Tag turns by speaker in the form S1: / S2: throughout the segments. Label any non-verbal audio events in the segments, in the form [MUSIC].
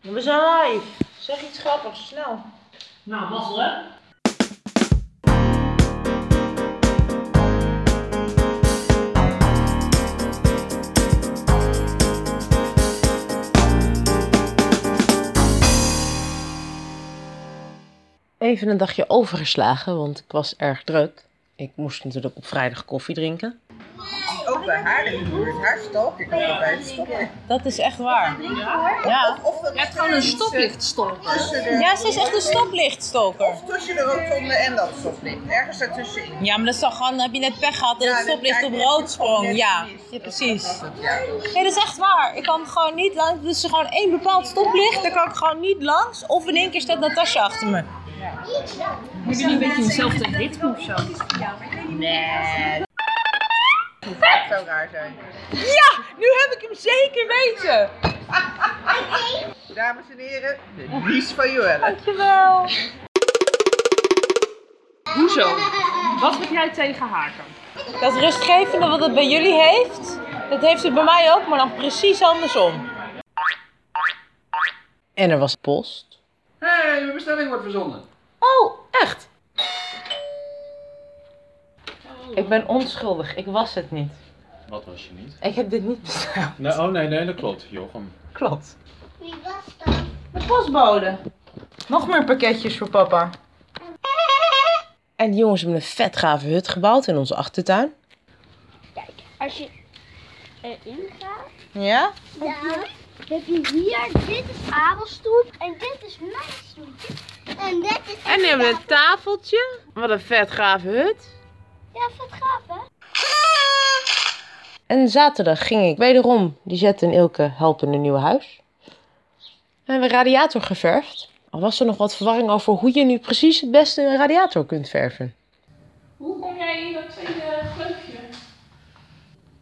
S1: We zijn live. Zeg iets grappigs, snel.
S2: Nou, mazzel hè?
S1: Even een dagje overgeslagen, want ik was erg druk. Ik moest natuurlijk op vrijdag koffie drinken.
S3: Ook bij haar in de buurt. Haar stok. Ik ben bij de stok.
S1: Dat is echt waar. Ja,
S3: Of dat is
S2: gewoon een stoplicht stoppen.
S3: tussen de...
S1: ja ze is echt een stoplichtstoker.
S3: Of tussen de rotonde en dat stoplicht. Ergens ertussenin.
S1: Ja, maar dat is toch gewoon, heb je net pech gehad dat
S3: Ja,
S1: het
S3: dan
S1: stoplicht
S3: kijk
S1: op
S3: je
S1: rood
S3: net
S1: sprong.
S3: net
S1: Ja,
S3: mis.
S1: ja, precies.
S3: Dat, ja.
S1: Nee, dat is echt waar. Ik kan gewoon niet langs. Dus er gewoon één bepaald stoplicht, daar kan ik gewoon niet langs. Of in één keer staat Natasja achter me.
S2: Hebben jullie een beetje hetzelfde ritme of zo?
S3: Nee. Dat zou raar zijn.
S1: Ja, nu heb ik hem zeker weten.
S3: Dames en heren, de Lies van Joelle.
S1: Dankjewel.
S2: Hoezo? Wat heb jij tegen haken?
S1: Dat rustgevende wat het bij jullie heeft, dat heeft het bij mij ook, maar dan precies andersom. En er was post.
S4: Hé, hey, mijn bestelling wordt verzonden.
S1: Oh, echt? Ik ben onschuldig, ik was het niet.
S4: Wat was je niet?
S1: Ik heb dit niet besteld.
S4: Nee, oh nee, nee, dat klopt, Jochem.
S1: [LAUGHS] Klopt. Wie was dat? De postbode. Nog meer pakketjes voor papa. En die jongens hebben een vet gave hut gebouwd in onze achtertuin.
S5: Als je erin gaat,
S1: Ja?
S5: daar heb je hier, dit is Abelstoep en dit is mijn stoep. En dit is...
S1: En die hebben een tafeltje. Wat een vet gave hut.
S5: Ja, vet gaaf hè?
S1: En zaterdag ging ik wederom die Jet en Ilke helpen in een nieuw huis. We hebben een radiator geverfd. Al was er nog wat verwarring over hoe je nu precies het beste een radiator kunt verven.
S2: Hoe kom jij in dat tweede gleufje?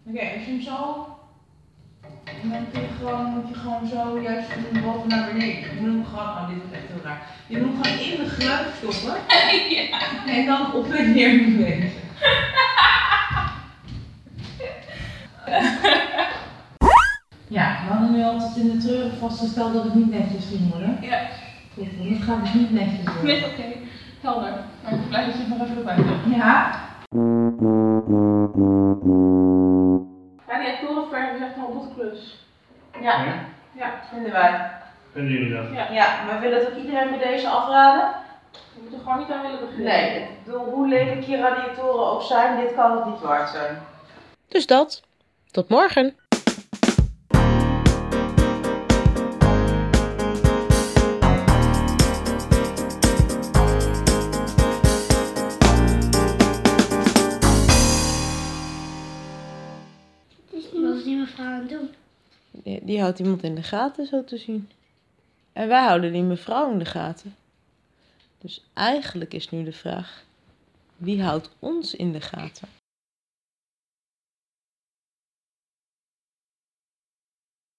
S6: Oké, als je hem zo. Dan kun je gewoon, moet je gewoon zo juist van boven naar beneden. Je moet hem gewoon, oh dit is echt heel raar. Je moet hem gewoon in de gleuf
S2: [LAUGHS]
S6: stoppen. En dan op en neer bewegen. ja, we hadden nu altijd in de treuren vastgesteld dat het niet netjes ging worden.
S2: Ja.
S6: Goed, want het gaat dus niet netjes worden.
S2: Nee, oké. Helder. Maar ik blijf dat je nog even bij
S6: Ja,
S2: Ja, die torenverf is echt een honderd klus.
S6: ja, ja, vinden wij.
S7: Vinden jullie dat?
S6: Ja, maar we willen het ook iedereen bij deze afraden.
S2: We moeten gewoon niet aan willen beginnen.
S6: Nee, ik bedoel, hoe lelijk je radiatoren ook zijn, dit kan het niet waard zijn.
S1: Dus dat. Tot morgen.
S5: Het is nu wat die mevrouw aan het doen.
S1: Die, die houdt iemand in de gaten, zo te zien. En wij houden die mevrouw in de gaten. Dus eigenlijk is nu de vraag: wie houdt ons in de gaten?